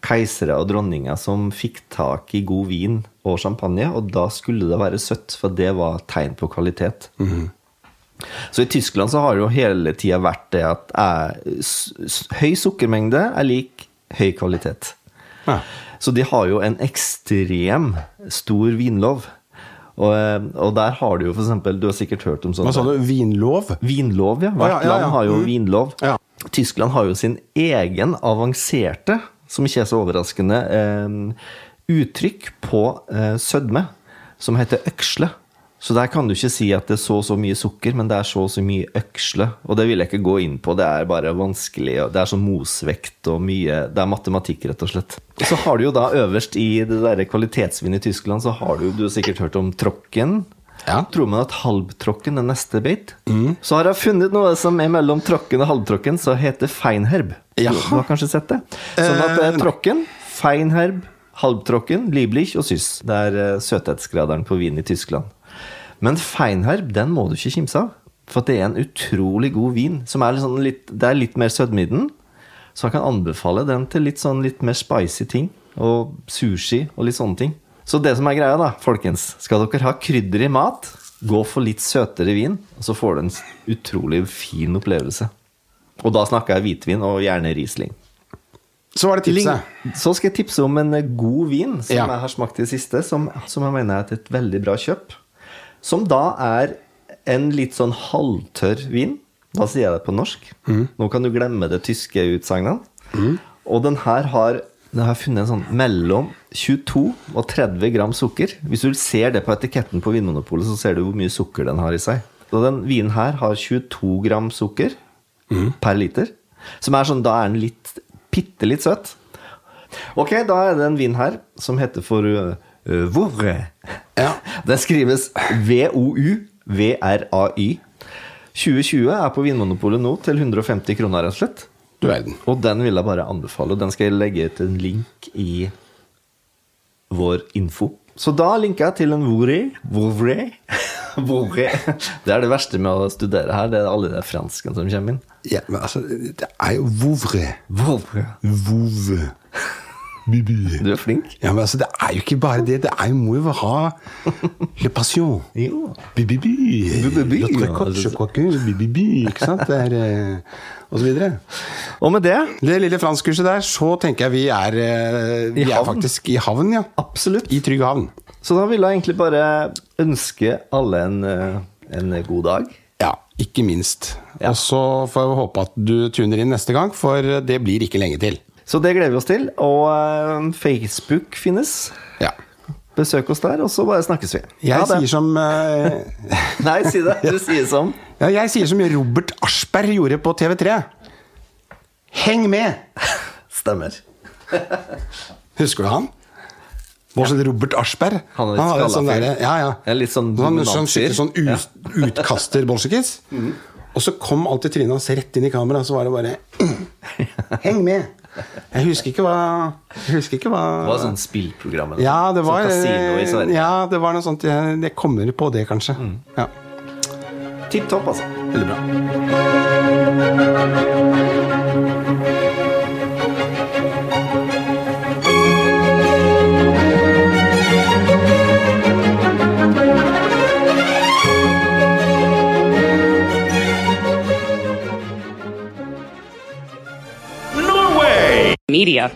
B: keisere og dronninger som fikk tak i god vin og champagne, og da skulle det være søtt, for det var tegn på kvalitet. Så i Tyskland så har det jo hele tida vært det at eh, s- s- høy sukkermengde er lik høy kvalitet.
A: Ja.
B: Så de har jo en ekstrem stor vinlov. Og, eh, og der har du jo for eksempel Du har sikkert hørt om sånn-
A: Hva
B: sånne
A: sa du? Vinlov?
B: Vinlov, ja.
A: Å,
B: Hvert
A: ja, ja, ja.
B: land har jo
A: Mm.
B: vinlov.
A: Ja.
B: Tyskland har jo sin egen avanserte, som ikke er så overraskende, eh, uttrykk på eh, sødme, som heter øksle. Så der kan du ikke si at det er så og så mye sukker, men det er så og så mye øksle. Og det vil jeg ikke gå inn på, det er bare vanskelig. og Det er sånn mosvekt og mye Det er matematikk, rett og slett. Så har du jo da øverst i det derre kvalitetsvin i Tyskland, så har du jo Du har sikkert hørt om tråkken.
A: Ja.
B: Tror man at halvtråkken er neste bit? Så har jeg funnet noe som er mellom tråkken og halvtråkken, som heter feinherb.
A: Jaha.
B: Du har kanskje sett det? Sånn at eh,
A: Eh, nei.
B: tråkken, feinherb, halvtråkken, lieblich og syss. Det er eh, søthetsgraderen på vin i Tyskland. Men feinherb, den må du ikke kimse av. For det er en utrolig god vin. Som er litt sånn litt, det er litt mer sødme i den. Så jeg kan anbefale den til litt sånn litt mer spicy ting. Og sushi og litt sånne ting. Så det som er greia, da, folkens Skal dere ha krydder i mat, gå for litt søtere vin, og så får du en s- utrolig fin opplevelse. Og da snakker jeg hvitvin, og gjerne Riesling.
A: Så var det tipset.
B: Ling- Så skal jeg tipse om en eh, god vin som
A: Ja.
B: jeg har smakt i det siste, som, som jeg mener er et veldig bra kjøp. Som da er en litt sånn halvtørr vin. Da sier jeg det på norsk. Nå kan du glemme det tyske utsagnet. Og den her har den har jeg funnet en sånn mellom 22 og 30 gram sukker. Hvis du ser det på etiketten på Vinmonopolet, så ser du hvor mye sukker den har i seg. Og den vinen her har 22 gram sukker per liter. Som er sånn, da er den litt, bitte litt søt. Ok, da er det en vin her som heter for uh, uh, Vorre.
A: Ja.
B: Den skrives V-O-U-V-R-A-Y. 2020 er på Vinmonopolet nå til 150 kroner, rett og slett.
A: Du verden.
B: Og den vil jeg bare anbefale. Den skal jeg legge ut en link i vår info. Så da linker jeg til en Vorre. Vorre. *laughs* Vorre. Det er det verste med å studere her. Det er alle de franskene som kommer inn.
A: Ja, men altså, det er jo vovre.
B: Vorre.
A: Vove. Bibi.
B: Du er flink.
A: Ja, men altså, det er jo ikke bare det. Det er jo, må jo *laughs* ha le passion.
B: Jo.
A: Bibibi.
B: Bibibi,
A: Notre
B: ja. Altså,
A: coq, je crois que bibibi, Ikke sant? Det er eh, Og så videre.
B: Og med det
A: Det lille franskkurset der, så tenker jeg vi er eh, Vi
B: I
A: er
B: havn.
A: faktisk i havn, ja.
B: Absolutt.
A: I trygg havn.
B: Så da vil jeg egentlig bare ønske alle en, eh, en god dag.
A: Ja, ikke minst. Og så får vi håpe at du tuner inn neste gang, for det blir ikke lenge til.
B: Så det gleder vi oss til. Og eh, Facebook finnes.
A: Ja.
B: Besøk oss der, og så bare snakkes vi.
A: Jeg
B: Ha det.
A: sier som eh, *laughs*
B: *laughs* Nei, si det. Du sier som.
A: Ja, jeg sier som Robert Aschberg gjorde på TV3. Heng med!
B: Stemmer.
A: Husker du han? Vår sånn Robert Aschberg.
B: Han er litt
A: hadde
B: skalla
A: sånn
B: fyr.
A: derre Ja, ja.
B: En litt sånn
A: sånn,
B: dominant
A: sånn, skikkelig sånn
B: fyr.
A: ut, utkaster-bolsjekis.
B: Mhm.
A: Og så kom alltid trynet hans rett inn i kameraet, så var det bare *clears throat* Heng med! Jeg husker ikke hva Jeg husker ikke hva
B: Det var sånn spillprogram. eller
A: Ja,
B: noe.
A: det var
B: Sånn kasino i Sverige. Mm.
A: Ja, det var noe sånt. Jeg, jeg kommer på det, kanskje. Ja,
B: Tipp topp, altså.
A: Veldig bra.
C: media.